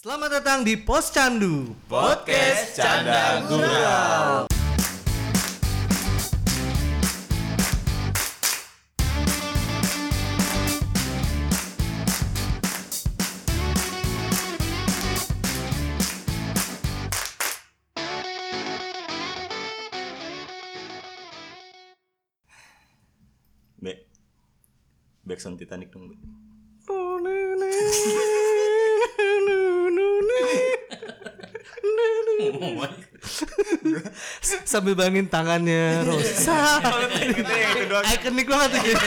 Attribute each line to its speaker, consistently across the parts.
Speaker 1: Selamat datang di Pos Candu.
Speaker 2: Podcast Canda Gurau. Be. Back sound Titanic dong, Be.
Speaker 1: S- Sambil bangin tangannya Rosa. Ikonik banget tuh jadi.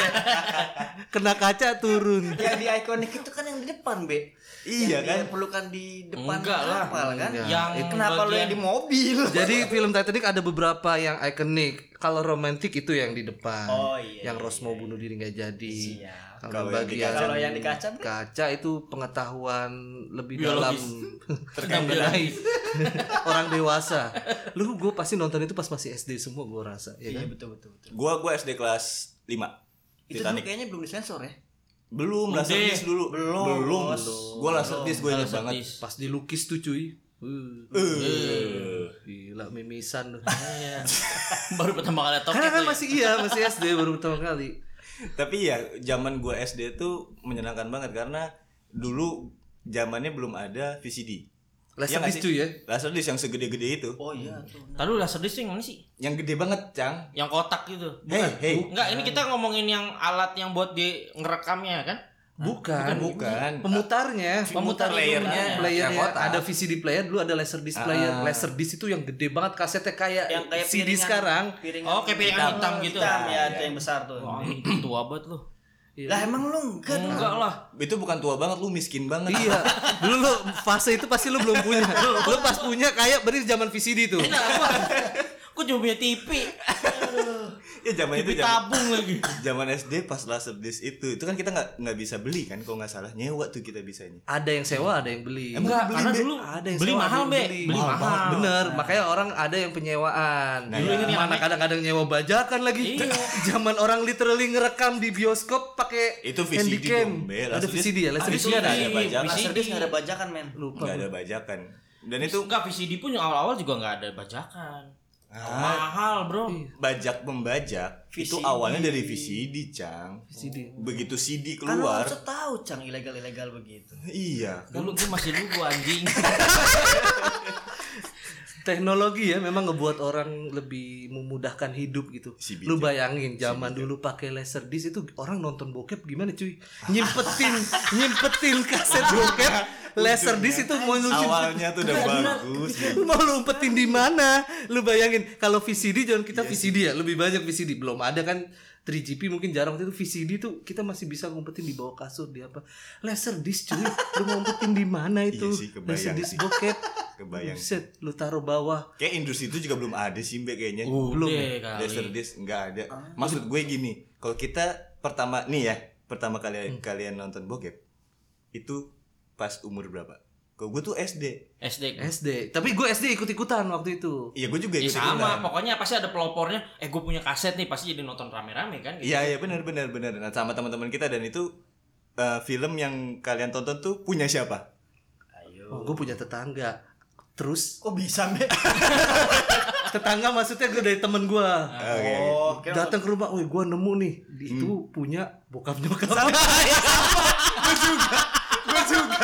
Speaker 1: Kena kaca turun.
Speaker 3: yang di ikonik itu kan yang di depan be
Speaker 2: Iya
Speaker 3: Yang
Speaker 2: kan?
Speaker 3: diperlukan di depan
Speaker 4: Enggak lah.
Speaker 3: kapal kan
Speaker 4: Yang
Speaker 3: Eh, kenapa lu
Speaker 4: bagian-
Speaker 3: yang Iya, di mobil
Speaker 1: Jadi film Titanic ada beberapa yang ikonik. Kalau romantik itu yang di depan.
Speaker 3: Oh, iya,
Speaker 1: Yang Rosmo bunuh diri nggak jadi.
Speaker 3: Siap.
Speaker 1: Kalau
Speaker 2: Kalau yang di
Speaker 1: bagian
Speaker 2: kaca-
Speaker 3: Kalau yang di kaca, Bre?
Speaker 1: kaca itu pengetahuan lebih
Speaker 4: Biologis.
Speaker 1: dalam
Speaker 4: terkait
Speaker 1: mengenai orang dewasa. Lu gue pasti nonton itu pas masih SD semua gue rasa, ya kan?
Speaker 3: Iya, betul betul betul
Speaker 2: Gua gua SD kelas 5.
Speaker 3: itu dulu kayaknya belum disensor ya
Speaker 2: Belum laser
Speaker 4: Udah.
Speaker 2: disc dulu. Belum. Belum. Gua laser disc gue ingat banget.
Speaker 1: Pas dilukis tuh cuy. Uh,
Speaker 2: Eh.
Speaker 1: gila mimisan lu.
Speaker 4: baru pertama kali ya. tau
Speaker 1: Karena kan masih iya, masih SD baru pertama kali.
Speaker 2: Tapi ya zaman gua SD tuh menyenangkan banget karena dulu zamannya belum ada VCD.
Speaker 1: Laser
Speaker 2: Iya nggak
Speaker 1: disc
Speaker 2: sih?
Speaker 1: tuh ya?
Speaker 2: Laser disc yang segede-gede itu.
Speaker 3: oh iya tuh
Speaker 4: Tadi laser disc yang mana sih?
Speaker 2: Yang gede banget, Cang.
Speaker 4: Yang kotak gitu.
Speaker 2: Hei, hei.
Speaker 4: Enggak,
Speaker 1: Iya.
Speaker 4: ini kita ngomongin yang alat yang buat di ngerekamnya kan?
Speaker 1: Bukan,
Speaker 2: bukan.
Speaker 1: Pemutarnya,
Speaker 2: Pemutar layernya, yang
Speaker 1: playernya
Speaker 2: kotak.
Speaker 1: ada VCD player, dulu ada laser disc player. Laser disc itu yang gede banget kasetnya kayak,
Speaker 3: yang kayak
Speaker 1: CD
Speaker 3: piringan-
Speaker 1: sekarang.
Speaker 3: piringan
Speaker 4: Oh, kayak piringan hitam, gitu.
Speaker 3: hitam ya itu yang besar tuh
Speaker 4: Wah, ini
Speaker 1: Hmm.
Speaker 4: tua banget lu.
Speaker 3: iya. lah emang lu enggak dong
Speaker 4: Enggak lah.
Speaker 2: Itu bukan tua banget, lu miskin banget.
Speaker 1: Iya, dulu lu fase itu pasti lu belum punya. Lu, lu pas punya kayak berarti zaman VCD tuh.
Speaker 4: Gue cuma punya TV.
Speaker 2: ya zaman itu
Speaker 4: TV
Speaker 2: zaman,
Speaker 4: tabung lagi.
Speaker 2: zaman SD pas laser disc itu. Itu kan kita nggak nggak bisa beli kan kalau nggak salah nyewa tuh kita bisanya.
Speaker 1: Ada yang sewa, ada yang beli.
Speaker 2: Emang
Speaker 4: Enggak,
Speaker 2: beli,
Speaker 4: karena
Speaker 2: Be.
Speaker 4: dulu
Speaker 1: ada yang
Speaker 4: beli
Speaker 1: sewa,
Speaker 4: mahal,
Speaker 1: ada yang
Speaker 4: Be. Beli
Speaker 1: Mahal
Speaker 4: mahal.
Speaker 1: banget, Bener, makanya orang ada yang penyewaan.
Speaker 4: Dulu ini yang
Speaker 1: Mana
Speaker 4: aneh.
Speaker 1: kadang-kadang nyewa bajakan lagi.
Speaker 4: Iya.
Speaker 1: Zaman orang literally ngerekam di bioskop pakai
Speaker 2: Itu VCD
Speaker 1: handycam.
Speaker 2: dong, Be.
Speaker 1: Ada
Speaker 2: Laser disc-
Speaker 1: VCD ya, laser
Speaker 4: ada
Speaker 1: disc ada.
Speaker 4: VCD.
Speaker 2: Nggak ada bajakan.
Speaker 4: VCD.
Speaker 3: laser disc nggak ada bajakan men
Speaker 1: Lupa.
Speaker 2: Nggak ada bajakan. Dan itu
Speaker 4: Itu enggak VCD pun yang awal-awal juga enggak ada bajakan.
Speaker 2: Ah.
Speaker 4: Mahal, Bro.
Speaker 1: Iya.
Speaker 2: bajak membajak itu
Speaker 3: VCD.
Speaker 2: awalnya dari VCD, Cang.
Speaker 1: VCD.
Speaker 2: Begitu CD
Speaker 3: kan lu
Speaker 2: keluar,
Speaker 3: harus tahu cang ilegal ilegal begitu
Speaker 2: iya.
Speaker 4: Dulu gue masih dulu gua anjing.
Speaker 1: Teknologi ya memang ngebuat orang lebih memudahkan hidup gitu.
Speaker 2: Si bijak.
Speaker 1: Lu bayangin zaman dulu pakai laser disc itu orang nonton bokep gimana cuy? Nyimpetin nyimpetin kaset bokep
Speaker 2: ya,
Speaker 1: laser disc itu mau lu
Speaker 2: Awalnya tuh udah bagus. ya.
Speaker 1: mau lu umpetin di mana? Lu bayangin kalau VCD jangan
Speaker 2: Iya
Speaker 1: kita VCD ya, lebih banyak VCD. Belum ada kan 3GP mungkin jarang waktu itu VCD tuh kita masih bisa ngumpetin di bawah kasur di apa. Laser disc cuy, lu mau umpetin di mana itu?
Speaker 2: Iya sih, kebayang
Speaker 1: laser disc
Speaker 2: sih.
Speaker 1: bokep.
Speaker 2: Kebayang.
Speaker 1: Buset, lu taruh bawah
Speaker 2: Kayak industri itu juga belum ada sih Mbak kayaknya.
Speaker 4: Oh,
Speaker 1: Belum ya?
Speaker 4: Deh, kali.
Speaker 2: Laser disc nggak ada. Maksud gue gini, kalau kita pertama nih ya, pertama kali kalian nonton bokep itu pas umur berapa? Kalau gue tuh SD.
Speaker 4: SD
Speaker 1: SD. Tapi gue SD ikut-ikutan waktu itu.
Speaker 2: Iya gue juga
Speaker 4: Ya
Speaker 2: ikut
Speaker 4: sama, pokoknya pasti ada pelopornya. Eh, gue punya kaset nih, pasti jadi nonton rame-rame kan? gitu.
Speaker 2: Iya iya benar benar benar. Nah, sama teman-teman kita dan itu eh, film yang kalian tonton tuh punya siapa?
Speaker 3: ayo
Speaker 1: Oh, gue punya tetangga. Terus
Speaker 3: kok bisa men
Speaker 1: tetangga maksudnya gue dari temen gue.
Speaker 2: Ah, Oke. Hmm.
Speaker 3: oh kira-
Speaker 1: Datang ke rumah, woi gue nemu nih itu punya bokap nyokap. gue juga,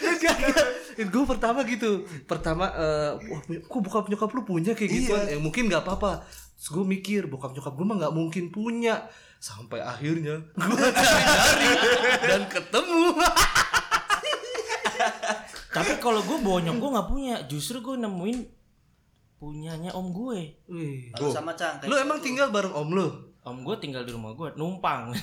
Speaker 1: gue juga. gue pertama gitu, pertama eh, wah kok bokap nyokap lu punya kayak gitu?
Speaker 2: Iya.
Speaker 1: Eh, mungkin nggak apa-apa. Terus gue mikir bokap nyokap gue mah nggak mungkin punya. Sampai akhirnya gue cari-cari dan ketemu.
Speaker 4: Tapi kalau gue bonyok, gue nggak punya. Justru gue nemuin punyanya om gue.
Speaker 2: Ah,
Speaker 1: Wih.
Speaker 3: Harus sama cang kayak gitu.
Speaker 1: Lu emang tinggal bareng om lu?
Speaker 4: Om gue tinggal di rumah gue, numpang.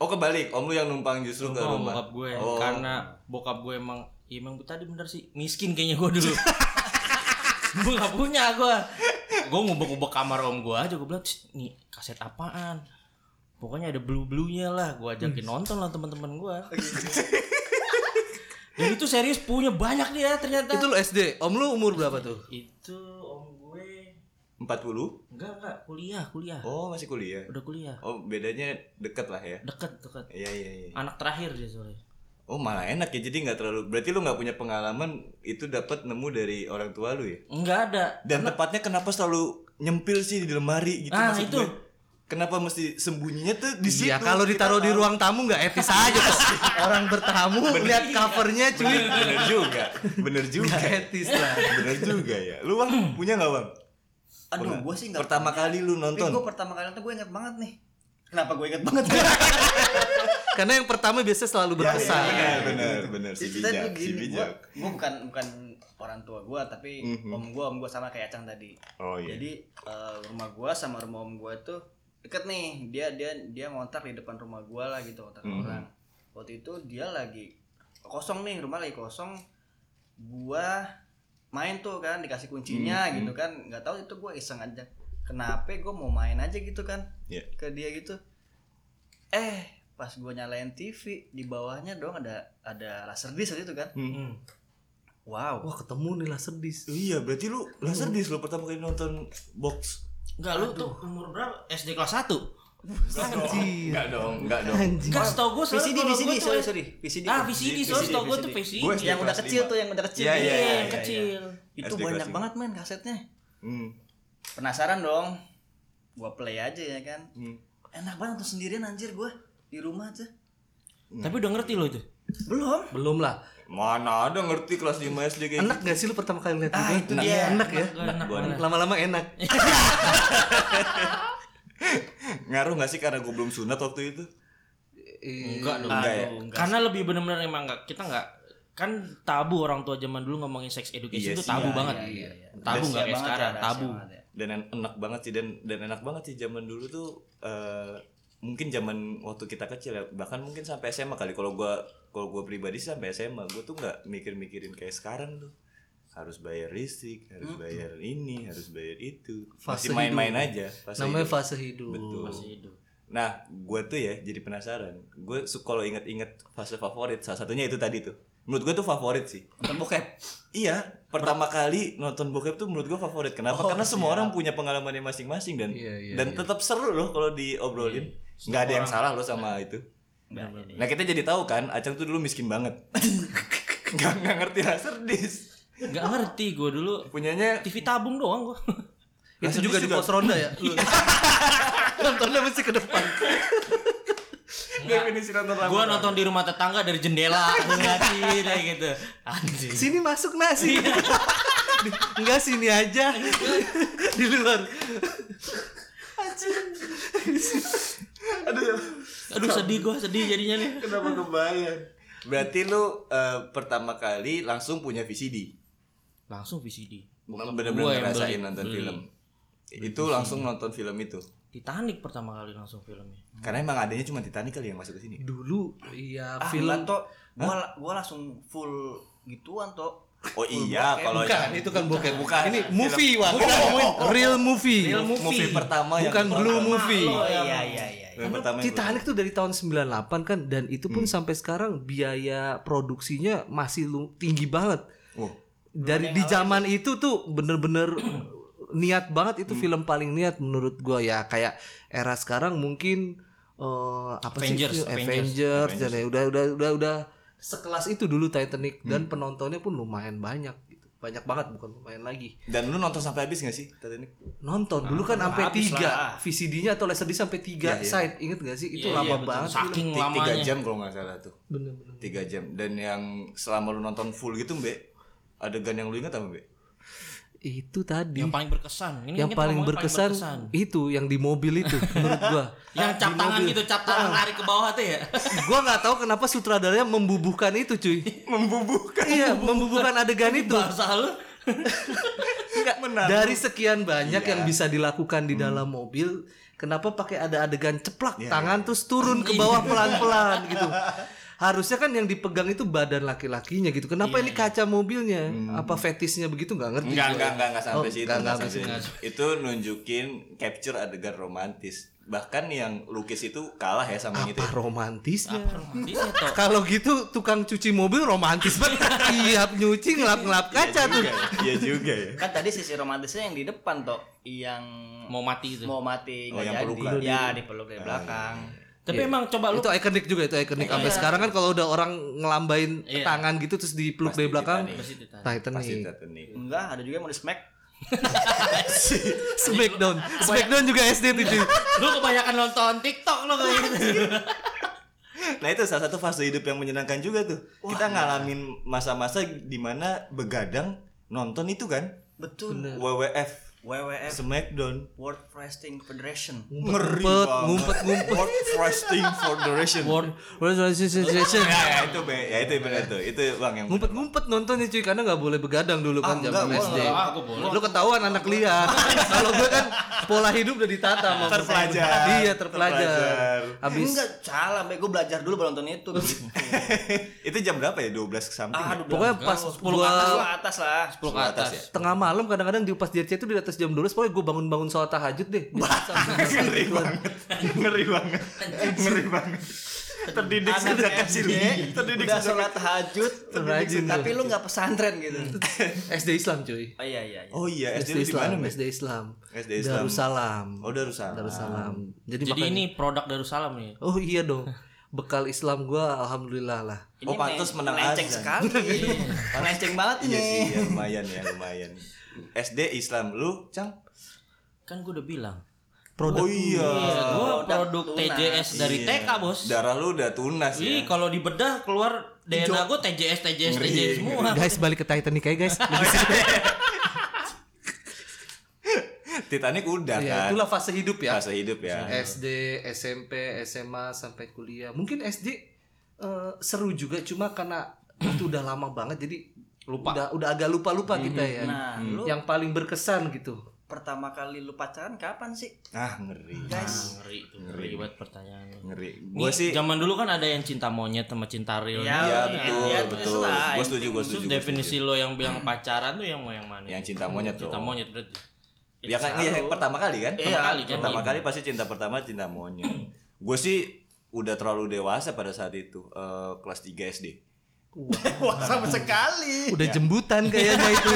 Speaker 2: Oh kebalik, om lu yang numpang justru ke
Speaker 4: Om
Speaker 2: rumah.
Speaker 4: bokap gue,
Speaker 2: Oh.
Speaker 4: karena bokap gue emang, ya emang tadi bener sih, miskin kayaknya gue dulu. gue nggak punya gue. Gue ngubek-ngubek kamar om gue aja, gue bilang, "Cih, nih kaset apaan? Pokoknya ada blue-bluenya lah, gue ajakin nonton lah teman-teman gue. Iya. Dan itu serius punya banyak dia ternyata.
Speaker 1: Itu lu SD. Om lu umur berapa tuh?
Speaker 4: itu om gue
Speaker 2: 40?
Speaker 4: enggak enggak kuliah kuliah
Speaker 2: Oh, masih kuliah.
Speaker 4: udah kuliah
Speaker 2: Oh, bedanya deket lah ya.
Speaker 4: deket deket
Speaker 2: Iya, iya, iya.
Speaker 4: anak terakhir dia soalnya
Speaker 2: Oh malah enak ya jadi nggak terlalu berarti lu nggak punya pengalaman itu dapat nemu dari orang tua lu ya
Speaker 4: Enggak ada.
Speaker 2: dan tepatnya kenapa selalu nyempil sih di lemari gitu
Speaker 4: Ah,
Speaker 2: maksud
Speaker 4: itu.
Speaker 2: gue. kenapa mesti sembunyinya tuh di situ
Speaker 1: Nah, Iya, kalau ditaruh di ruang tamu nggak etis aja. Pas Orang bertamu lihat covernya cuy.
Speaker 2: bener, bener juga bener juga
Speaker 1: Nggak etis lah.
Speaker 2: bener juga ya lu bang punya nggak bang
Speaker 3: Aduh,
Speaker 2: Pernah.
Speaker 3: gue sih nggak. Eh,
Speaker 2: pertama kali lu
Speaker 3: Tapi gue
Speaker 2: nonton
Speaker 3: pertama kali tuh gue inget banget nih. Kenapa gue inget banget?
Speaker 1: Karena yang pertama biasanya selalu berkesan.
Speaker 2: bener bener bener si
Speaker 3: Cerita tuh
Speaker 2: bijak si
Speaker 3: gini, gue
Speaker 2: bijak
Speaker 3: gue bukan bukan orang tua gue tapi
Speaker 2: Mhm.
Speaker 3: om gue om gue sama kayak Acang tadi.
Speaker 2: oh iya
Speaker 3: Jadi eh, rumah gue sama rumah om gue tuh deket nih. Dia dia dia ngontrak di depan rumah gue lah gitu ngontrak
Speaker 2: Mhm.
Speaker 3: orang. Waktu itu dia lagi kosong nih rumah lagi kosong. Gue main tuh kan dikasih kuncinya
Speaker 2: Mhm.
Speaker 3: gitu kan. Nggak tahu itu gue iseng aja. Kenapa gue mau main aja gitu kan
Speaker 2: Iya.
Speaker 3: ke dia gitu. Eh pas gue nyalain TV di bawahnya dong ada ada laser disc waktu itu kan.
Speaker 2: Hmm.
Speaker 4: Hmm.
Speaker 3: Wow.
Speaker 1: Wah, ketemu nih lah sedis.
Speaker 2: iya berarti lu laser dis lu pertama kali nonton box
Speaker 4: Enggak lu tuh umur berapa? SD kelas 1.
Speaker 1: Anjir.
Speaker 2: Enggak dong, enggak dong.
Speaker 1: Anjir.
Speaker 4: Enggak setahu gua soalnya
Speaker 3: VCD,
Speaker 4: kalau
Speaker 3: VCD,
Speaker 4: gua tuh-
Speaker 3: sorry, sorry. VCD.
Speaker 4: Ah, VCD, soalnya setahu gua tuh VCD.
Speaker 2: Gua SD
Speaker 3: yang udah
Speaker 2: kelas
Speaker 3: kecil
Speaker 2: lima.
Speaker 3: tuh yang udah kecil
Speaker 2: Iya,
Speaker 3: tuh.
Speaker 2: iya,
Speaker 4: Iya,
Speaker 2: iya.
Speaker 4: kecil.
Speaker 3: itu
Speaker 2: SD kelas
Speaker 3: banyak
Speaker 2: lima.
Speaker 3: banget men kasetnya
Speaker 2: Hmm.
Speaker 3: penasaran dong gua play aja ya kan
Speaker 2: Hmm.
Speaker 3: enak banget tuh sendirian anjir gua di rumah aja
Speaker 4: Tapi udah ngerti lo itu.
Speaker 3: belum
Speaker 1: Belum lah.
Speaker 2: Mana ada ngerti kelas 5 SD kayak
Speaker 1: Enak gak sih lu pertama kali lihat
Speaker 3: Ah,
Speaker 1: video?
Speaker 3: itu
Speaker 1: Enak.
Speaker 3: dia.
Speaker 1: Enak ya.
Speaker 4: Gak enak
Speaker 2: gua
Speaker 4: banget.
Speaker 1: Lama-lama enak.
Speaker 2: Ngaruh gak sih karena gue belum sunat waktu itu?
Speaker 1: Iya.
Speaker 4: Enggak dong.
Speaker 2: Enggak ya?
Speaker 4: Aduh, enggak. Ah, Karena lebih benar-benar emang enggak kita enggak kan tabu orang tua zaman dulu ngomongin sex
Speaker 2: Iya
Speaker 4: education itu
Speaker 2: sih,
Speaker 4: tabu banget.
Speaker 3: iya, iya.
Speaker 4: Tabu
Speaker 3: Rahasia
Speaker 4: enggak
Speaker 3: banget
Speaker 4: kayak
Speaker 3: ya,
Speaker 4: sekarang,
Speaker 3: rahasia
Speaker 4: tabu.
Speaker 3: banget ya.
Speaker 2: Dan en- enak banget sih dan dan enak banget sih zaman dulu tuh eh, mungkin zaman waktu kita kecil ya bahkan mungkin sampai SMA kali kalau gua kalau gua pribadi sih sampai SMA gue tuh nggak mikir-mikirin kayak sekarang tuh harus bayar listrik harus bayar ini harus bayar itu
Speaker 1: Fase
Speaker 2: masih main-main
Speaker 1: hidup.
Speaker 2: aja fase
Speaker 1: Namanya
Speaker 2: hidup.
Speaker 1: fase hidup.
Speaker 2: Betul.
Speaker 4: Masih hidup.
Speaker 2: Nah, gue tuh ya jadi penasaran. Gue su- kalau inget-inget fase favorit, salah satunya itu tadi tuh. Menurut gue tuh favorit sih.
Speaker 3: nonton bokep
Speaker 2: Iya, pertama kali nonton bokep tuh menurut gue favorit. Kenapa? Karena semua orang punya pengalamannya masing-masing dan
Speaker 1: Oh, Iya, iya,
Speaker 2: dan tetap seru loh kalau diobrolin. Nggak ada yang salah loh sama itu.
Speaker 1: Iya.
Speaker 2: Nah kita jadi tahu kan, Acang tuh dulu miskin banget. nggak, nggak ngerti laser dis.
Speaker 4: Enggak ngerti gua dulu.
Speaker 2: Punyanya
Speaker 4: TV tabung doang gua.
Speaker 1: Itu
Speaker 2: Laser
Speaker 1: juga
Speaker 2: disc
Speaker 1: di pos ronda ya. Lu. Nontonnya mesti ke depan.
Speaker 2: definisi nonton
Speaker 4: gua nonton di rumah tetangga dari jendela gua ngeliatin kayak gitu. Anjing.
Speaker 1: Sini masuk nasi. Enggak sini aja. di luar. ya.
Speaker 4: Aduh sedih gua, sedih jadinya nih.
Speaker 2: Kenapa kebayang? Berarti lu eh, pertama kali langsung punya VCD.
Speaker 4: Langsung VCD.
Speaker 2: Bukan
Speaker 4: gua
Speaker 2: bener-bener
Speaker 4: yang
Speaker 2: ngerasain
Speaker 4: beli.
Speaker 2: nonton
Speaker 4: Beli.
Speaker 2: film. Itu langsung nonton Hmm. film itu.
Speaker 4: Titanic pertama kali langsung filmnya.
Speaker 2: Karena emang adanya cuma Titanic kali yang masuk ke sini.
Speaker 1: Dulu iya
Speaker 3: ah, film
Speaker 1: film
Speaker 3: toh gua la- gua langsung full gituan toh
Speaker 2: Oh iya, kalau
Speaker 1: Bukan, itu kan bokep.
Speaker 2: Bukan.
Speaker 1: Ini movie, Wak. Kita ngomongin real movie.
Speaker 2: Real movie. Movie pertama yang
Speaker 1: Bukan
Speaker 2: ditonton.
Speaker 1: blue movie.
Speaker 3: oh iya iya iya iya.
Speaker 2: yang pertama Hmm. yang
Speaker 1: Titanic tuh dari tahun 98 kan dan itu pun sampai sekarang biaya produksinya masih lu, tinggi banget.
Speaker 2: gua- Oh,
Speaker 1: Dari di zaman itu tuh bener-bener niat banget
Speaker 4: Hmm.
Speaker 1: itu film paling niat menurut gua ya kayak era sekarang mungkin eh, apa
Speaker 4: Avengers,
Speaker 1: sih
Speaker 4: Avengers. Hmm.
Speaker 1: Avengers, dan ya udah udah udah udah sekelas itu dulu Titanic dan penontonnya pun lumayan banyak gitu. Banyak banget bukan lumayan lagi.
Speaker 2: Dan lu nonton sampai habis gak sih Titanic?
Speaker 1: Nonton
Speaker 4: Ah,
Speaker 1: dulu kan sampai
Speaker 3: habis
Speaker 1: tiga
Speaker 3: lah.
Speaker 1: VCD-nya atau LCD sampai tiga side. Ingat gak sih? Itu
Speaker 4: Iya,
Speaker 1: lama
Speaker 4: iya, betul.
Speaker 1: banget.
Speaker 4: Saking
Speaker 2: Ti- Tiga
Speaker 4: lamanya.
Speaker 2: jam kalau nggak salah tuh.
Speaker 1: Bener-bener.
Speaker 2: Tiga jam. Dan yang selama lu nonton full gitu, Mbak, adegan yang lu ingat apa, Mbak?
Speaker 1: Itu tadi.
Speaker 4: Yang paling berkesan. Ini
Speaker 1: yang
Speaker 4: kita
Speaker 1: paling
Speaker 4: ngomongin
Speaker 1: berkesan, itu yang di mobil itu menurut gua.
Speaker 4: Yang cap tangan gitu, cap tangan
Speaker 1: Ah.
Speaker 4: lari ke bawah tuh ya.
Speaker 1: gua nggak tahu kenapa sutradaranya membubuhkan itu, cuy.
Speaker 2: Membubuhkan.
Speaker 1: iya, membubuhkan adegan itu.
Speaker 4: Bahasa lu.
Speaker 1: Nggak, dari sekian banyak yang bisa dilakukan di dalam mobil, kenapa pakai ada adegan ceplak tangan terus turun ke bawah pelan-pelan gitu. Harusnya kan yang dipegang itu badan laki-lakinya gitu. Kenapa ini kaca mobilnya? Apa fetisnya begitu nggak ngerti.
Speaker 2: Enggak,
Speaker 1: gua.
Speaker 2: enggak, enggak, enggak sampai
Speaker 1: Oh,
Speaker 2: situ.
Speaker 1: nggak,
Speaker 2: Enggak,
Speaker 1: nggak
Speaker 2: sampai situ. Itu nunjukin capture adegan romantis. Bahkan yang lukis itu kalah ya sama yang itu.
Speaker 1: Apa romantisnya?
Speaker 4: Romantis ya, Tok.
Speaker 1: Kalau gitu tukang cuci mobil romantis banget. Tiap nyuci ngelap-ngelap kaca tuh.
Speaker 2: Iya, Iya juga ya.
Speaker 3: kan tadi sisi romantisnya yang di depan toh yang
Speaker 4: Mau mati itu.
Speaker 3: mau mati
Speaker 2: Oh,
Speaker 3: nggak
Speaker 2: yang
Speaker 3: jadi
Speaker 2: pelukan. Ah, iya,
Speaker 3: ya dipeluk dari belakang
Speaker 4: Tapi
Speaker 1: Iya.
Speaker 4: emang coba lu
Speaker 1: itu ikonik juga itu ikonik sampai sekarang kan kalau udah orang ngelambain
Speaker 4: Iya.
Speaker 1: tangan gitu terus dipeluk dari belakang
Speaker 2: Titanic.
Speaker 4: Pasti Titanic.
Speaker 2: Pasti
Speaker 1: Titanic
Speaker 2: Titanic.
Speaker 3: Enggak, ada juga yang mau di smack.
Speaker 1: Smackdown Smackdown juga SD tuh cuy
Speaker 4: lu kebanyakan nonton TikTok lu kayak gitu.
Speaker 2: Nah itu salah satu fase hidup yang menyenangkan juga tuh. Kita ngalamin masa-masa dimana begadang nonton itu kan
Speaker 3: Betul.
Speaker 2: WWF
Speaker 3: WWF
Speaker 2: Smackdown
Speaker 3: World Wrestling Federation.
Speaker 2: Ngeri
Speaker 1: ngumpet,
Speaker 2: banget.
Speaker 1: ngumpet, ngumpet.
Speaker 2: World Wrestling Federation.
Speaker 4: World
Speaker 1: World Wrestling Association.
Speaker 2: Ya, ya, itu be, ya itu benar tuh. Itu bang yang
Speaker 1: Ngumpet-ngumpet nontonnya cuy karena nggak boleh begadang dulu kan
Speaker 2: Ah,
Speaker 1: zaman
Speaker 2: nggak
Speaker 1: SD.
Speaker 2: boleh.
Speaker 4: Ah, aku boleh.
Speaker 1: Lu ketahuan anak liar. Kalau gue kan pola hidup udah ditata sama
Speaker 2: Terpelajar.
Speaker 1: Iya, terpelajar.
Speaker 2: Terpelajar.
Speaker 1: Habis
Speaker 3: Enggak, salah, Mbak. Gue belajar dulu baru nonton itu. Gitu.
Speaker 2: itu jam berapa ya? 12 ke something. ya?
Speaker 3: Aduh,
Speaker 1: pokoknya pas
Speaker 4: Sepuluh ke
Speaker 1: gua
Speaker 3: atas lah, atas lah.
Speaker 4: Lu ke atas.
Speaker 2: ya.
Speaker 1: tengah malam kadang-kadang di upas JRC itu di atas jam 12 pokoknya gue bangun-bangun sholat tahajud deh.
Speaker 2: Ngeri banget. Ngeri banget. Ngeri banget. Terdidik sejak kecil. Terdidik
Speaker 3: Udah
Speaker 2: sejak
Speaker 3: sholat tahajud,
Speaker 1: Rajin
Speaker 3: tapi
Speaker 1: lu.
Speaker 3: lu nggak pesantren gitu.
Speaker 1: SD Islam cuy.
Speaker 3: Oh iya iya. iya.
Speaker 2: Oh iya,
Speaker 1: SD
Speaker 2: SD lu di mana,
Speaker 1: Islam,
Speaker 2: Mes?
Speaker 1: SD Islam.
Speaker 2: SD Islam.
Speaker 1: Darussalam.
Speaker 2: Oh, Darussalam.
Speaker 1: Darussalam. Jadi,
Speaker 4: Jadi
Speaker 1: makanya-
Speaker 4: ini produk Darussalam nih.
Speaker 1: Oh iya dong. Bekal Islam gua alhamdulillah lah.
Speaker 2: Oh, pantes
Speaker 3: men-
Speaker 2: menang
Speaker 3: melenceng
Speaker 2: azan.
Speaker 3: sekali. melenceng banget ini.
Speaker 2: Iya sih, ya, lumayan ya, lumayan. SD Islam lu, Cang?
Speaker 4: Kan gua udah bilang.
Speaker 1: Produk
Speaker 2: Oh iya.
Speaker 4: Iya, gua
Speaker 3: Produk
Speaker 4: produk
Speaker 3: tunas.
Speaker 4: TJS dari
Speaker 2: Iya.
Speaker 4: TK, Bos. Iya.
Speaker 2: Darah lu udah tunas
Speaker 4: Ih,
Speaker 2: ya.
Speaker 4: kalau dibedah keluar DNA gua TJS TJS TJS semua.
Speaker 1: guys balik ke Titanic aja guys. Iya.
Speaker 2: Titanic udah
Speaker 1: ya,
Speaker 2: kan.
Speaker 1: itulah fase hidup ya.
Speaker 2: Fase hidup ya.
Speaker 1: SD, SMP, SMA sampai kuliah. Mungkin SD eh, seru juga cuma karena itu udah lama banget jadi lupa. Udah udah agak lupa-lupa kita ya.
Speaker 3: Nah, lu
Speaker 1: Yang paling berkesan gitu.
Speaker 3: pertama kali lu pacaran kapan sih?
Speaker 2: Ah, ngeri.
Speaker 3: Guys.
Speaker 4: Ngeri tuh. Ngeri banget pertanyaan lu.
Speaker 2: Ngeri.
Speaker 4: Nih,
Speaker 2: Gua sih
Speaker 4: zaman dulu kan ada yang cinta monyet sama cinta real.
Speaker 3: Iya,
Speaker 2: Iya
Speaker 3: Oh,
Speaker 2: betul,
Speaker 3: iya,
Speaker 2: betul.
Speaker 3: terserah.
Speaker 2: Gue setuju, gue
Speaker 4: Terus
Speaker 2: setuju. gua
Speaker 4: definisi lo yang bilang pacaran tuh yang mau yang mana?
Speaker 2: setuju. yang cinta monyet tuh.
Speaker 4: Cinta monyet berarti.
Speaker 2: Ya kan iya, yang pertama kali kan?
Speaker 4: Pertama kali kan?
Speaker 2: Pertama kali pasti cinta pertama cinta monyet. gue sih udah terlalu dewasa pada saat itu, eh, kelas 3 SD.
Speaker 3: Wah, sama sekali.
Speaker 1: Udah jembutan kayaknya itu.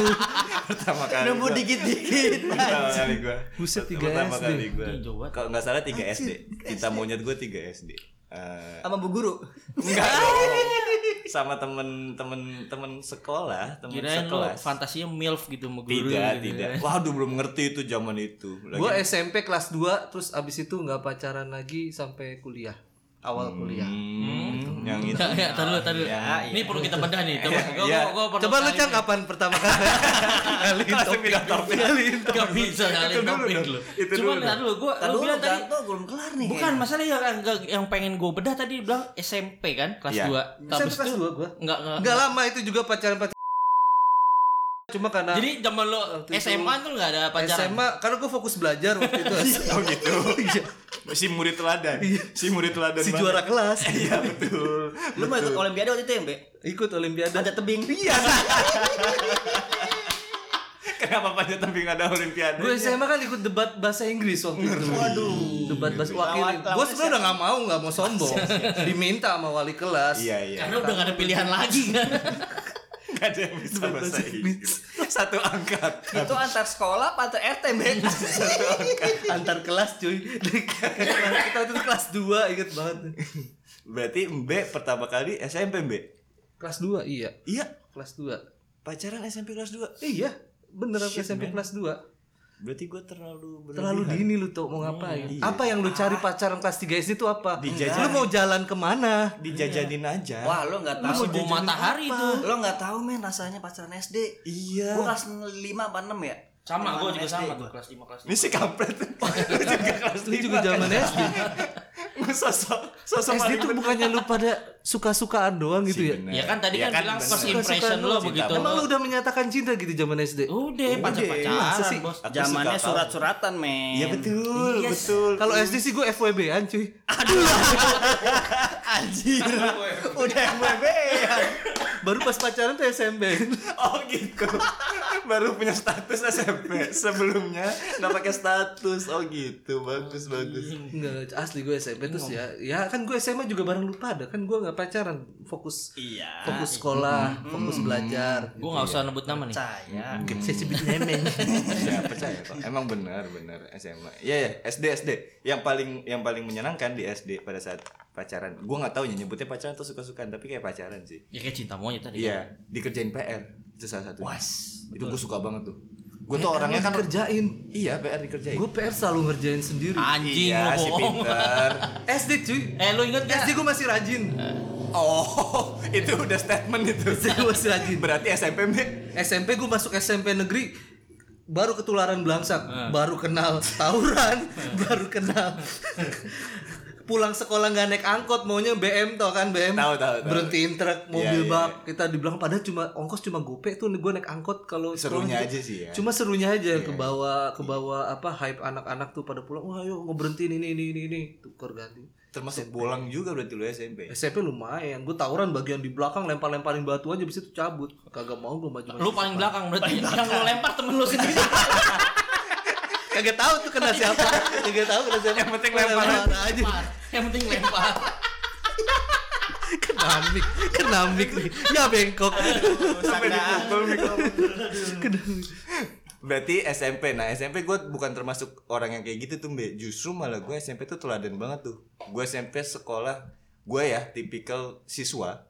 Speaker 2: Pertama kali.
Speaker 3: Nemu
Speaker 2: gua-
Speaker 3: dikit-dikit.
Speaker 2: Pertama kali gue.
Speaker 1: Buset, tiga
Speaker 2: Pertama
Speaker 1: SD.
Speaker 2: kali gue.
Speaker 4: Ih, jauh banget.
Speaker 2: Kalau nggak salah 3 SD. Cinta monyet gue 3 SD. Eh,
Speaker 3: Sama Bu Guru.
Speaker 2: enggak dong. sama temen-temen temen sekolah, temen
Speaker 4: Kirain lo
Speaker 2: sekelas.
Speaker 4: fantasinya milf gitu sama guru.
Speaker 2: Tidak,
Speaker 4: gitu.
Speaker 2: tidak. Waduh belum ngerti itu zaman itu. Lagi
Speaker 1: Gue SMP kelas 2 terus abis itu nggak pacaran lagi sampai kuliah. Awal kuliah.
Speaker 2: Hmm, yang itu.
Speaker 4: Ya, ya, tar dulu, tar dulu.
Speaker 3: Nah, iya.
Speaker 4: Ini perlu kita bedah nih. Coba, gua,
Speaker 2: Iya.
Speaker 4: gua, gua perlu
Speaker 1: Coba lu
Speaker 4: tarik
Speaker 1: Cang
Speaker 4: nih.
Speaker 1: kapan pertama kali? Ngalihin
Speaker 2: Langsung pindah topik.
Speaker 1: Ngalihin topik.
Speaker 4: Gak bisa nyalin topik lu.
Speaker 2: itu
Speaker 4: Cuma
Speaker 2: dulu.
Speaker 4: tar dulu, gua
Speaker 3: Tadi
Speaker 4: lu
Speaker 3: lu
Speaker 4: bilang tadi
Speaker 3: tadi kan belum kelar nih.
Speaker 4: bukan masalah yang yang- yang pengen gua bedah tadi bilang SMP kan kelas
Speaker 2: Iya.
Speaker 4: 2.
Speaker 1: Sampai
Speaker 4: Habis
Speaker 1: kelas
Speaker 4: itu
Speaker 1: 2 gue.
Speaker 4: enggak enggak.
Speaker 1: Enggak lama itu juga pacaran pacaran. Cuma karena
Speaker 4: Jadi zaman lo
Speaker 1: Waktu itu-
Speaker 4: SMA tuh enggak ada pacaran. Iya.
Speaker 1: SMA karena gue fokus belajar waktu itu
Speaker 2: Oh gitu. si murid teladan. Si murid teladan.
Speaker 1: si
Speaker 2: banget.
Speaker 1: juara kelas
Speaker 2: Iya betul.
Speaker 3: Lu mau ikut olimpiade waktu itu ya, Mbak?
Speaker 1: ikut olimpiade Iya.
Speaker 3: Ada tebing.
Speaker 2: Kenapa panjat tebing ada olimpiade?
Speaker 1: gue SMA kan ikut debat bahasa Inggris waktu itu waduh debat bahasa wakil
Speaker 3: Lawan- lawan
Speaker 1: gue sebenarnya udah nggak mau nggak mau sombong diminta sama wali kelas
Speaker 2: Iya iya.
Speaker 4: Karena udah gak ada pilihan lagi kan.
Speaker 2: Gak ada yang bisa bahasa Inggris. Satu angkat.
Speaker 3: Itu antar sekolah apa antar RT, Mbak?
Speaker 1: antar kelas cuy Dari kelas kita waktu itu kelas 2 inget banget
Speaker 2: Berarti Mbe pertama kali SMP Mbe.
Speaker 1: kelas 2 iya
Speaker 2: Iya.
Speaker 1: kelas 2
Speaker 2: Pacaran SMP kelas 2
Speaker 1: iya beneran
Speaker 2: Shit,
Speaker 1: SMP
Speaker 2: man.
Speaker 1: kelas 2
Speaker 2: Berarti gue terlalu berlebihan.
Speaker 1: Terlalu dini lu tuh mau ngapain?
Speaker 2: Iya.
Speaker 1: Apa yang lu cari pacaran kelas 3 SD itu apa?
Speaker 2: Dijajanin.
Speaker 1: Lu mau jalan kemana?
Speaker 2: Dijajanin aja.
Speaker 3: Wah, lu nggak tahu.
Speaker 4: Masih bau matahari itu.
Speaker 3: Lo nggak tahu men rasanya pacaran SD.
Speaker 2: Iya.
Speaker 3: Gue kelas 5 apa 6 ya?
Speaker 4: Sama gua
Speaker 3: Lima,
Speaker 4: juga
Speaker 3: SD.
Speaker 4: sama tuh kelas 5 kelas 5.
Speaker 2: Ini si kampret. Lu juga kelas
Speaker 1: Lu juga
Speaker 2: lima.
Speaker 1: zaman SD.
Speaker 2: Lu sosok sosok
Speaker 1: SD
Speaker 2: paling
Speaker 1: tuh bukannya lu pada suka-sukaan doang gitu ya?
Speaker 2: bener.
Speaker 4: Ya kan tadi
Speaker 2: Iya
Speaker 4: kan
Speaker 2: kan,
Speaker 4: bilang
Speaker 2: bener.
Speaker 4: first impression
Speaker 1: Suka-suka
Speaker 4: lo
Speaker 1: lu,
Speaker 4: begitu. Oh.
Speaker 2: cinta.
Speaker 1: Emang lu udah menyatakan cinta gitu zaman SD?
Speaker 4: Udah
Speaker 1: masa
Speaker 4: pacar-pacaran,
Speaker 1: sih?
Speaker 4: Bos.
Speaker 2: Aku
Speaker 3: Zamannya
Speaker 2: suka tahu.
Speaker 3: surat-suratan, men.
Speaker 2: Iya betul, betul.
Speaker 1: Kalau SD sih gue FWB-an cuy.
Speaker 3: Anjir. Udah yang bebe.
Speaker 1: Baru pas pacaran tuh SMP.
Speaker 2: Oh gitu. Baru punya status SMP. Sebelumnya nggak pakai status. Oh gitu. Bagus bagus.
Speaker 1: iya. Enggak, asli gue SMP terus ya. Ya kan gue SMA juga bareng lu pada kan gue nggak pacaran, fokus
Speaker 3: Iya.
Speaker 1: fokus sekolah,
Speaker 4: Hmm.
Speaker 1: fokus belajar.
Speaker 4: Gue nggak usah nebut nama nih.
Speaker 3: Percaya.
Speaker 1: Saya sebut nemeng.
Speaker 2: Ya percaya kok. Emang benar benar SMA. Ya ya SD SD. Yang paling yang paling menyenangkan di SD pada saat pacaran. Gua nggak tahu ya nyebutnya pacaran atau suka-sukaan tapi kayak pacaran sih.
Speaker 4: Ya kayak cinta monyet tadi.
Speaker 2: Iya, dikerjain PR. Itu salah satu.
Speaker 3: Was.
Speaker 2: Itu gue suka banget tuh. Gue tuh orangnya kan
Speaker 1: kerjain.
Speaker 2: Iya, PR dikerjain.
Speaker 1: Gue PR selalu ngerjain sendiri.
Speaker 4: Anjing
Speaker 2: iya,
Speaker 4: lu
Speaker 2: si
Speaker 4: bohong.
Speaker 2: pinter.
Speaker 1: SD cuy.
Speaker 4: eh lu inget gak?
Speaker 1: SD gue masih rajin.
Speaker 2: Oh, itu udah statement itu.
Speaker 1: SD gue masih rajin.
Speaker 2: Berarti SMP Mbak.
Speaker 1: SMP gue masuk SMP negeri baru ketularan belangsak,
Speaker 2: Ah.
Speaker 1: baru kenal tawuran, baru kenal pulang sekolah nggak naik angkot maunya BM tau kan BM
Speaker 2: Tahu, tahu, tahu.
Speaker 1: berhentiin truk
Speaker 2: Iya,
Speaker 1: mobil
Speaker 2: iya,
Speaker 1: bak kita dibilang padahal cuma ongkos cuma gope tuh gue naik angkot kalau sekolah
Speaker 2: Serunya
Speaker 1: juga.
Speaker 2: aja sih ya.
Speaker 1: cuma serunya aja ke bawah ke bawah apa hype anak-anak tuh pada pulang wah ayo ngeberhentiin ini ini ini ini tukar ganti
Speaker 2: Termasuk bolang juga berarti lu SMP.
Speaker 1: SMP lumayan gue tawuran bagian di belakang lempar-lemparin batu aja bisa tuh cabut kagak mau gue maju
Speaker 4: Lu paling belakang berarti yang lu lempar temen lu sendiri.
Speaker 1: kagak tahu tuh kena siapa kagak tahu kena siapa yang penting lempar aja
Speaker 4: yang penting lempar.
Speaker 1: kena mik kena mik nih ya bengkok
Speaker 2: Sampai dipukul mikrofon. Berarti SMP. Nah, SMP gue bukan termasuk orang yang kayak gitu tuh, Mbak. Justru malah gue SMP tuh teladan banget tuh. Gue SMP sekolah, gue ya tipikal siswa.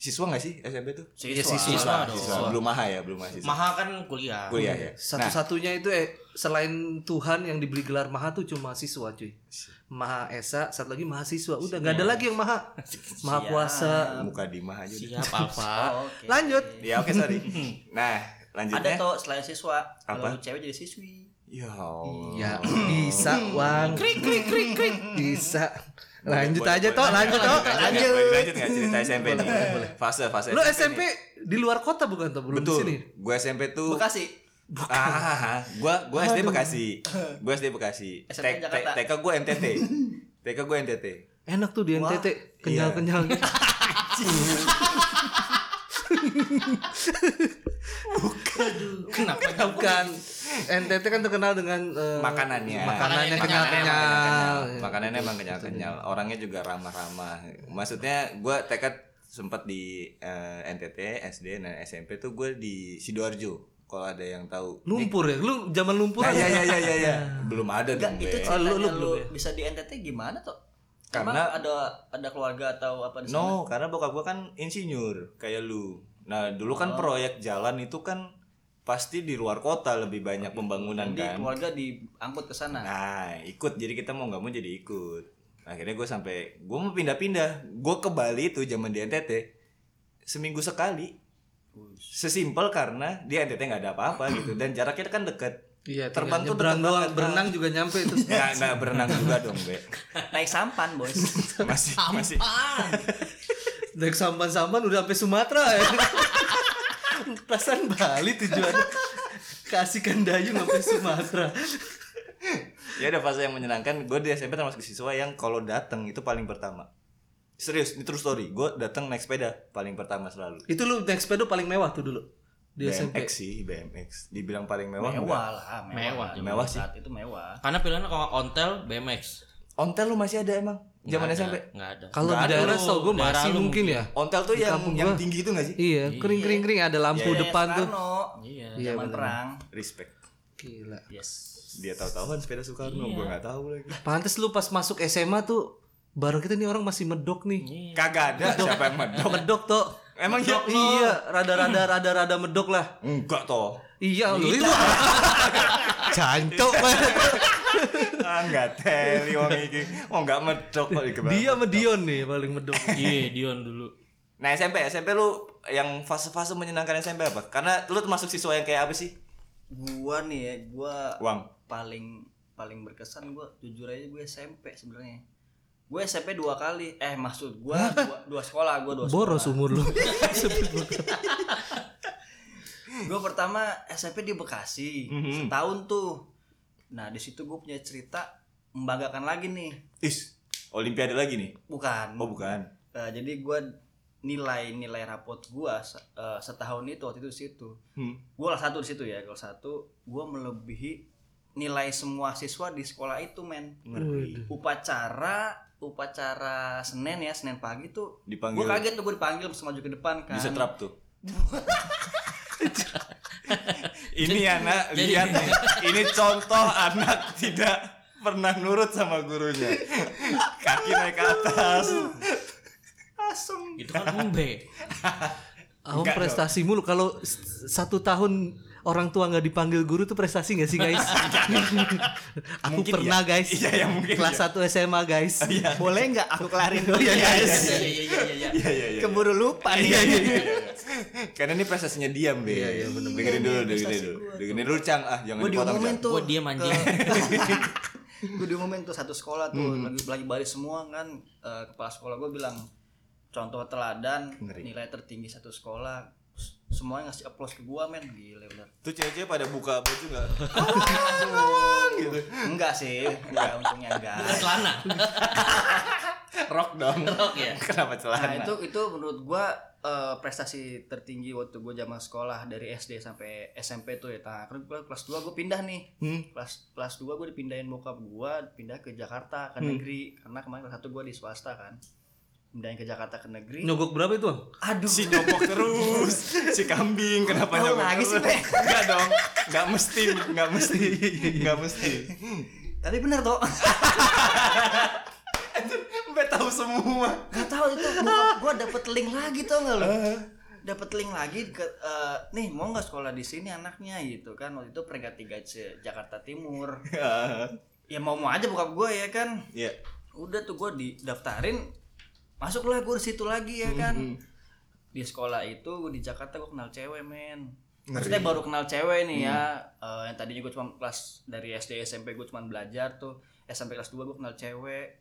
Speaker 2: Siswa gak sih SMP tuh?
Speaker 1: Iya, siswa.
Speaker 4: dong.
Speaker 2: Belum maha ya, belum maha siswa.
Speaker 4: Maha kan kuliah.
Speaker 2: Kuliah ya. Nah,
Speaker 1: satu-satunya itu eh selain Tuhan yang diberi gelar maha tuh cuma siswa cuy maha esa satu lagi mahasiswa udah nggak ada lagi yang maha maha kuasa
Speaker 2: muka di maha aja. udah.
Speaker 4: Siap Alfa.
Speaker 3: Oh, oke.
Speaker 1: lanjut
Speaker 2: Ya oke, sorry. Nah,
Speaker 3: Ada
Speaker 2: lanjutnya.
Speaker 3: tuh selain siswa,
Speaker 2: Apa?
Speaker 3: kalau cewek jadi siswi.
Speaker 2: Ya Allah.
Speaker 1: ya bisa wang krik krik krik krik bisa lanjut aja toh lanjut toh
Speaker 2: lanjut.
Speaker 1: lanjut
Speaker 2: Lanjut nggak cerita SMP nih? Fase fase.
Speaker 1: Lu SMP di luar kota bukan tuh belum di
Speaker 2: Betul.
Speaker 1: sini.
Speaker 2: Gue SMP tuh
Speaker 3: Bekasi.
Speaker 2: Ah, gue gue SD Bekasi. Gue SD Bekasi.
Speaker 3: SMP
Speaker 2: T- T-
Speaker 3: Jakarta.
Speaker 2: TK gue NTT. TK gue NTT.
Speaker 1: Eh, Enak tuh di NTT kenyal-kenyal.
Speaker 4: Kenapa?
Speaker 1: bukan. NTT kan terkenal dengan eh,
Speaker 2: Makanannya.
Speaker 1: Makanannya
Speaker 4: Makanannya
Speaker 1: kenyal-kenyal. Iya.
Speaker 2: Makanannya emang kenyal-kenyal. Orangnya juga ramah-ramah. Maksudnya gue TK sempat di eh, NTT, SD dan SMP tuh gue di sidoarjo. Kalau ada yang tahu.
Speaker 1: Lumpur Nah. ya. Lu zaman lumpur.
Speaker 2: Nah,
Speaker 1: apa?
Speaker 2: ya, ya, ya, ya, ya. Belum ada
Speaker 3: Enggak,
Speaker 2: dong.
Speaker 3: itu
Speaker 2: Be.
Speaker 3: ceritanya
Speaker 1: Oh, lu- lu
Speaker 3: lu,
Speaker 1: belum ya?
Speaker 3: bisa di NTT gimana tuh?
Speaker 2: Karena-
Speaker 3: Emang ada ada keluarga atau apa di
Speaker 2: No,
Speaker 3: sana?
Speaker 2: karena bokap gua kan insinyur kayak lu. Nah, dulu kan
Speaker 1: Oh.
Speaker 2: proyek jalan itu kan pasti di luar kota lebih
Speaker 1: Oh,
Speaker 2: banyak
Speaker 1: gitu.
Speaker 2: pembangunan
Speaker 3: Jadi
Speaker 2: kan.
Speaker 3: keluarga diangkut ke sana.
Speaker 2: Nah, ikut jadi kita mau nggak mau jadi ikut. Akhirnya gue sampai gue mau pindah-pindah. Gue ke Bali itu zaman di NTT seminggu sekali. Sesimpel karena di NTT nggak ada apa-apa gitu dan jaraknya kan dekat.
Speaker 1: Iya, terbang
Speaker 2: Terbang tuh
Speaker 1: berenang
Speaker 2: terbang
Speaker 1: doang,
Speaker 2: kan.
Speaker 1: berenang juga nyampe itu.
Speaker 2: Nah, nah berenang juga dong, Be.
Speaker 3: Naik sampan, Bos.
Speaker 2: Masih masih
Speaker 1: Naik sampan-sampan udah sampai Sumatera ya. Perasaan Bali tujuan kasih Dayung sampai Sumatera.
Speaker 2: ya ada fase yang menyenangkan gue di SMP termasuk siswa yang kalau datang itu paling pertama serius ini true story gue datang naik sepeda paling pertama selalu
Speaker 1: Itu lu naik sepeda paling mewah tuh dulu di SMP.
Speaker 2: BMX sih BMX dibilang paling mewah,
Speaker 3: Mewah
Speaker 2: enggak.
Speaker 3: lah,
Speaker 4: Mewah,
Speaker 3: mewah.
Speaker 2: mewah sih.
Speaker 3: Saat itu mewah.
Speaker 4: Karena pilihannya kalau ontel BMX.
Speaker 2: ontel lu masih ada emang zaman
Speaker 4: Nggak ada,
Speaker 2: SMP
Speaker 4: nggak ada.
Speaker 1: Kalau di
Speaker 2: Nggak ada
Speaker 1: daerah
Speaker 4: lu,
Speaker 1: tau gue
Speaker 4: daerah
Speaker 1: masih
Speaker 4: lu
Speaker 1: mungkin ya.
Speaker 2: ontel tuh yang yang tinggi itu gak sih
Speaker 1: Iya, kering kering kering ada lampu depan tuh.
Speaker 3: Soekarno,
Speaker 4: Iya.
Speaker 3: zaman perang.
Speaker 2: respect
Speaker 1: Gila.
Speaker 3: Yes.
Speaker 2: dia tahu-tahuan sepeda Soekarno gue nggak tahu lagi
Speaker 1: Pantes lu pas masuk SMA tuh bareng kita nih orang masih medok nih.
Speaker 2: kagak ada siapa yang medok
Speaker 1: Medok toh.
Speaker 2: emang ya
Speaker 1: Medok iya, rada-rada rada-rada medok lah.
Speaker 2: enggak toh
Speaker 1: Iya, lu itu. Jancok banget.
Speaker 2: ah nggak teli wong iki oh nggak medok kok di kebawah.
Speaker 1: Dia medion Iya, nih paling medok.
Speaker 4: Iya, Dion dulu.
Speaker 2: Nah SMP, SMP lu yang fase-fase menyenangkan SMP apa? Karena lu termasuk siswa yang kayak apa sih?
Speaker 3: Gua nih ya, gua
Speaker 2: Uang.
Speaker 3: paling paling berkesan gue jujur aja gue SMP sebenarnya gue SMP dua kali eh maksud gue dua, dua sekolah gue dua
Speaker 1: Boros
Speaker 3: sekolah
Speaker 1: umur lu.
Speaker 3: gue pertama SMP di Bekasi setahun tuh nah di situ gue punya cerita membanggakan lagi nih
Speaker 2: Is, Olimpiade lagi nih?
Speaker 3: bukan
Speaker 2: Oh bukan.
Speaker 3: Eh, jadi gue nilai-nilai rapot gua se- eh, setahun itu waktu itu di situ.
Speaker 2: Hmm.
Speaker 3: Gua kelas satu di situ ya, kelas satu gua melebihi nilai semua siswa di sekolah itu, men.
Speaker 2: Ngeri.
Speaker 3: Upacara upacara Senin ya, Senin pagi tuh
Speaker 2: Dipanggil.
Speaker 3: gua kaget tuh gua dipanggil terus maju ke depan kan.
Speaker 2: Bisa terap tuh. ini anak lihat nih. Ini contoh anak tidak pernah nurut sama gurunya. Kaki naik ke atas.
Speaker 3: Asem.
Speaker 4: Itu kan embe.
Speaker 1: Awam
Speaker 2: Enggak
Speaker 1: prestasi mulu kalau s- satu tahun orang tua nggak dipanggil guru tuh prestasi nggak sih guys? aku
Speaker 2: Mungkin
Speaker 1: pernah
Speaker 2: iya.
Speaker 1: guys.
Speaker 2: Iya, iya, mungkin
Speaker 1: Kelas
Speaker 2: iya.
Speaker 1: 1 SMA guys.
Speaker 3: Boleh nggak aku kelarin dulu
Speaker 1: Iya,
Speaker 3: ya,
Speaker 1: iya,
Speaker 3: guys?
Speaker 4: Iya iya iya iya, iya.
Speaker 2: Iya iya iya.
Speaker 3: Keburu lupa nih.
Speaker 1: Iya iya iya.
Speaker 2: Karena ini prosesnya diam, Be. Iya, iya, bener Dengerin dulu, dengerin dulu. Dengerin dulu, Cang. Ah, jangan
Speaker 3: Gue
Speaker 2: dipotong, Cang.
Speaker 3: diumumin tuh.
Speaker 4: Gua diam, anjing.
Speaker 3: gue diumumin tuh satu sekolah tuh
Speaker 4: Hmm.
Speaker 3: lagi lagi balik semua kan eh, kepala sekolah gue bilang contoh teladan
Speaker 2: Ngeri.
Speaker 3: nilai tertinggi satu sekolah S- semuanya ngasih applause ke gue men gila bener
Speaker 2: Tuh cewek-cewek pada buka baju gitu. enggak?
Speaker 3: enggak sih enggak untungnya enggak
Speaker 4: Celana.
Speaker 2: Rock dong.
Speaker 4: Rock ya?
Speaker 2: Kenapa celana?
Speaker 3: nah itu itu menurut gue eh, prestasi tertinggi waktu gue zaman sekolah dari SD sampai SMP tuh ya nah, gua kelas 2 gue pindah nih
Speaker 2: Hmm.
Speaker 3: kelas kelas 2 gue dipindahin bokap gue pindah ke
Speaker 2: Hmm.
Speaker 3: Jakarta ke negeri karena kemarin kelas satu gue di swasta kan pindahin ke Jakarta ke negeri
Speaker 1: Nyogok berapa itu, Bang?
Speaker 3: aduh
Speaker 2: si nyobok terus si kambing kenapa
Speaker 3: Oh,
Speaker 2: nyobok
Speaker 3: lagi sih,
Speaker 2: terus?
Speaker 3: Pe.
Speaker 2: enggak dong enggak mesti enggak mesti enggak mesti
Speaker 3: tapi bener toh
Speaker 2: Mbak tahu semua
Speaker 3: Gak tahu itu bokap gua dapet link lagi tau gak lo dapet link lagi ke eh, nih mau nggak sekolah di sini anaknya gitu kan waktu itu peringkat tiga C Jakarta Timur ya mau mau aja bokap gua ya kan
Speaker 2: ya
Speaker 3: udah tuh gua didaftarin masuklah gua di situ lagi ya kan
Speaker 2: Mm-hmm.
Speaker 3: di sekolah itu gua di Jakarta gua kenal cewek men Maksudnya baru kenal cewek nih ya
Speaker 2: Mm-hmm.
Speaker 3: Eh, yang tadinya gua cuma kelas dari SD SMP gua cuma belajar tuh SMP kelas 2 gua kenal cewek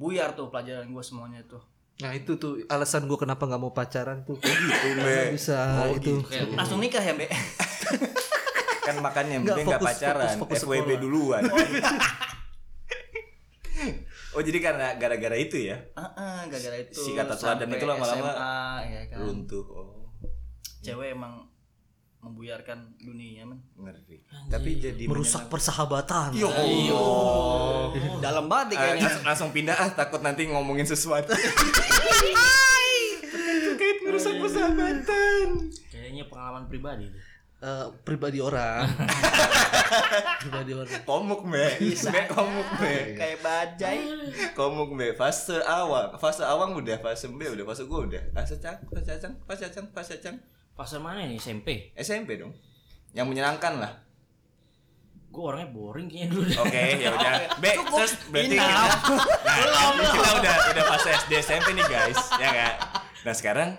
Speaker 3: buyar tuh pelajaran gua semuanya tuh
Speaker 1: Nah, itu tuh alasan gue kenapa nggak mau pacaran tuh.
Speaker 2: gitu Mbak.
Speaker 1: Nggak bisa
Speaker 2: Oh,
Speaker 1: itu.
Speaker 4: Kayak
Speaker 3: langsung nikah ya mbak
Speaker 2: kan makannya
Speaker 1: Enggak,
Speaker 2: mending enggak
Speaker 1: fokus,
Speaker 2: pacaran
Speaker 1: fokus, fokus
Speaker 2: FWB
Speaker 1: sekolah.
Speaker 2: duluan oh jadi karena gara-gara itu ya
Speaker 3: Heeh, gara-gara itu
Speaker 2: Si kata teladan
Speaker 3: sampai
Speaker 2: itu lama-lama
Speaker 3: SMA, ya kan.
Speaker 2: runtuh oh
Speaker 3: cewek emang membuyarkan dunia men
Speaker 2: ngeri tapi jadi Iya.
Speaker 1: Merusak persahabatan.
Speaker 2: Yo. oh,
Speaker 3: dalam banget deh
Speaker 2: Eh,
Speaker 3: kayaknya
Speaker 2: langsung, langsung pindah ah takut nanti ngomongin sesuatu terkait merusak persahabatan
Speaker 4: Kayaknya pengalaman pribadi. tuh.
Speaker 1: Eh, pribadi orang. pribadi orang.
Speaker 2: komuk me me komuk me
Speaker 3: kayak bajai
Speaker 2: komuk me fase awang fase awang udah fase B udah fase gue udah fase cang fase cang fase cang fase cang
Speaker 4: Pasar mana nih SMP?
Speaker 2: SMP dong yang menyenangkan lah
Speaker 4: Gue orangnya boring kayaknya dulu. deh.
Speaker 2: oke ya udah B
Speaker 3: Cukup.
Speaker 2: terus berarti
Speaker 3: Inap.
Speaker 2: kita nah, kita udah udah fase SD SMP nih guys ya nggak nah sekarang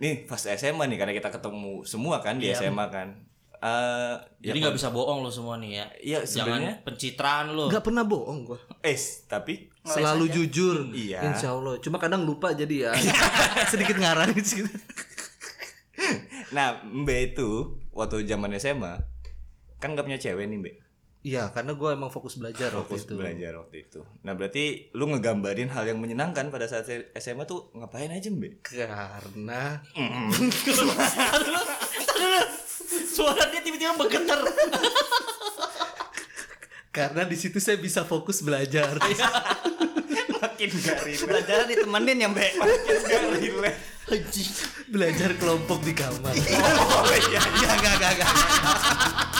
Speaker 2: nih fase SMA nih karena kita ketemu semua kan di SMA kan Eh, ya
Speaker 4: Jadi nggak bisa bohong lo semua nih ya.
Speaker 2: Iya, sebenarnya-
Speaker 4: Jangan pencitraan lo.
Speaker 1: Nggak pernah bohong gue.
Speaker 2: eh tapi
Speaker 1: Selalu jujur.
Speaker 2: Iya.
Speaker 1: Insya Allah. Cuma kadang lupa jadi ya. Sedikit ngarang gitu.
Speaker 2: nah Mbak itu waktu zaman SMA kan nggak punya cewek nih Mbak
Speaker 1: Iya, karena gue emang fokus belajar waktu
Speaker 2: fokus
Speaker 1: itu.
Speaker 2: belajar waktu itu. Nah berarti lu ngegambarin hal yang menyenangkan pada saat SMA tuh ngapain aja Mbak?
Speaker 1: Karena
Speaker 4: Suara dia tiba-tiba bergetar.
Speaker 1: karena di situ saya bisa fokus belajar.
Speaker 2: Makin gak relate.
Speaker 3: belajaran ditemenin ya mbak
Speaker 2: Makin gak relate.
Speaker 1: belajar kelompok di kamar.
Speaker 2: Oh iya.
Speaker 1: Enggak, enggak, enggak, enggak.